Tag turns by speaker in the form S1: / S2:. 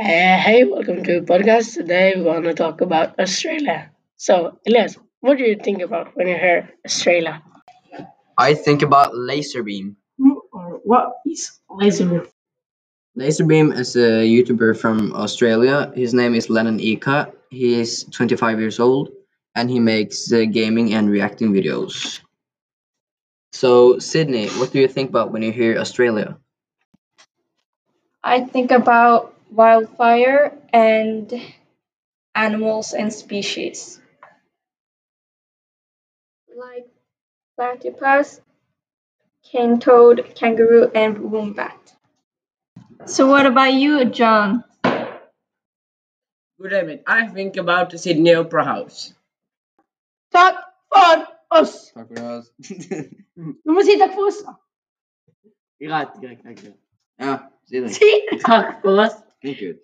S1: Uh, hey, welcome to the podcast. Today we want to talk about Australia. So, Elias, what do you think about when you hear Australia?
S2: I think about laser beam.
S1: Who or what is laser?
S2: Laserbeam is a YouTuber from Australia. His name is Lennon Eka. He is 25 years old and he makes uh, gaming and reacting videos. So, Sydney, what do you think about when you hear Australia?
S3: I think about wildfire and animals and species like platypus, cane toad, kangaroo, and wombat. So, what about you, John?
S4: Good evening. I think about the Sydney Opera House.
S5: Tack för oss!
S2: Tack för oss.
S5: Du måste säga tack för oss.
S4: Right, right, right.
S2: Ja, Ah, Sydney.
S5: Säg tack för oss.
S2: Thank you.